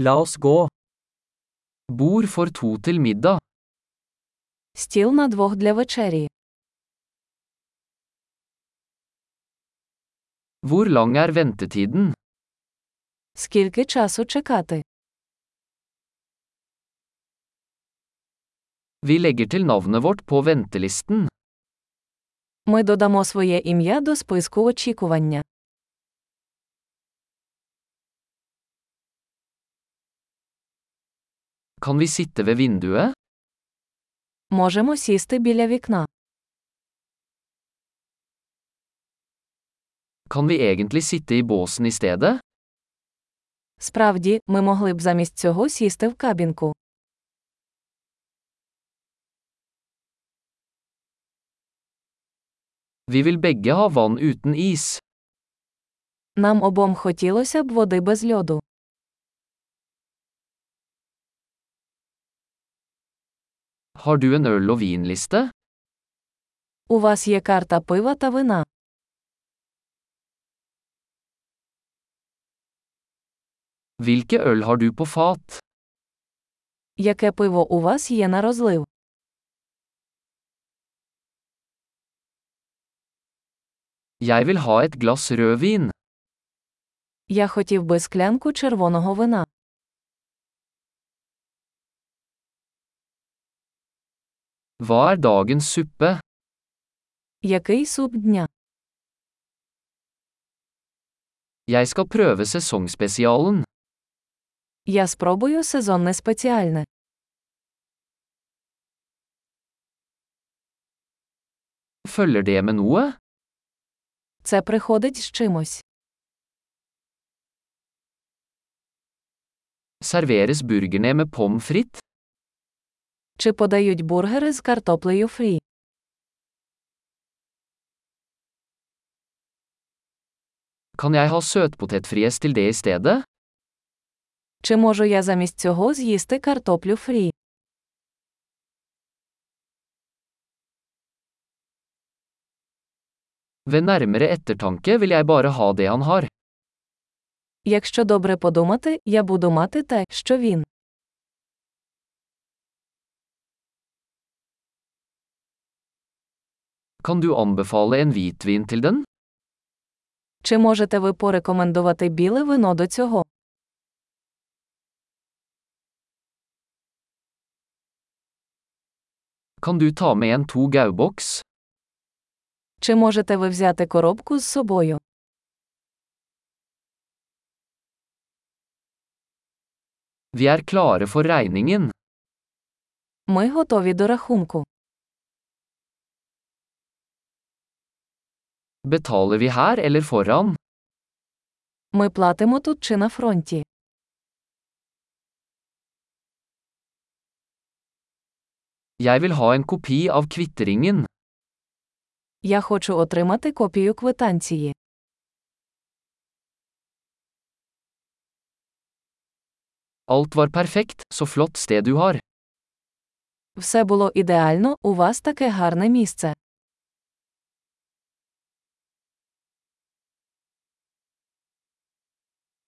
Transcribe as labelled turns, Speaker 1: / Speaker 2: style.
Speaker 1: La oss gå. Bord for to til middag.
Speaker 2: Стіл на двох для вечері.
Speaker 1: Hvor lang er ventetiden?
Speaker 2: Скільки часу чекати?
Speaker 1: Vi legger til navnet vårt på ventelisten.
Speaker 2: Ми додамо своє ім'я до списку очікування.
Speaker 1: Kan vi sitte ved vinduet?
Speaker 2: Можемо сісти біля вікна.
Speaker 1: Kan vi egentlig sitte i båsen i stedet?
Speaker 2: Справді, ми могли б замість цього сісти в кабінку.
Speaker 1: Vi vil begge ha vann uten is.
Speaker 2: Нам обом хотілося б води без льоду.
Speaker 1: Har du en øl- og vinliste?
Speaker 2: У вас є карта пива та вина.
Speaker 1: Hvilke øl har du på fat?
Speaker 2: Яке пиво у вас є на розлив?
Speaker 1: Jeg vil ha et glass rødvin.
Speaker 2: Я хотів би склянку червоного вина.
Speaker 1: Hva er dagens suppe?
Speaker 2: Який суп дня?
Speaker 1: Jeg skal prøve sesongspesialen.
Speaker 2: Я спробую сезонне спеціальне.
Speaker 1: Følger det med noe?
Speaker 2: Це приходить з чимось.
Speaker 1: Serveres burgerne med pommes frites?
Speaker 2: Чи подають бургери з картоплею фрі?
Speaker 1: Kan jeg ha søtpotetfries til det i stedet?
Speaker 2: Чи можу я замість цього з'їсти картоплю фрі?
Speaker 1: Ved nærmere ettertanke vil jeg bare ha det han har.
Speaker 2: Якщо добре подумати, я буду мати те, що він.
Speaker 1: Kan du anbefale en hvitvin til den?
Speaker 2: Чи можете ви порекомендувати біле вино до цього?
Speaker 1: Kan du ta med en to gau-boks?
Speaker 2: Чи можете ви взяти коробку з собою?
Speaker 1: Vi er klare for regningen.
Speaker 2: Ми готові до рахунку.
Speaker 1: Betaler vi her eller foran?
Speaker 2: Ми платимо тут чи на фронті.
Speaker 1: Jeg vil ha en kopi av kvitteringen.
Speaker 2: Я хочу отримати копію квитанції.
Speaker 1: Alt var perfekt, så flott sted du har.
Speaker 2: Все було ідеально, у вас таке гарне місце.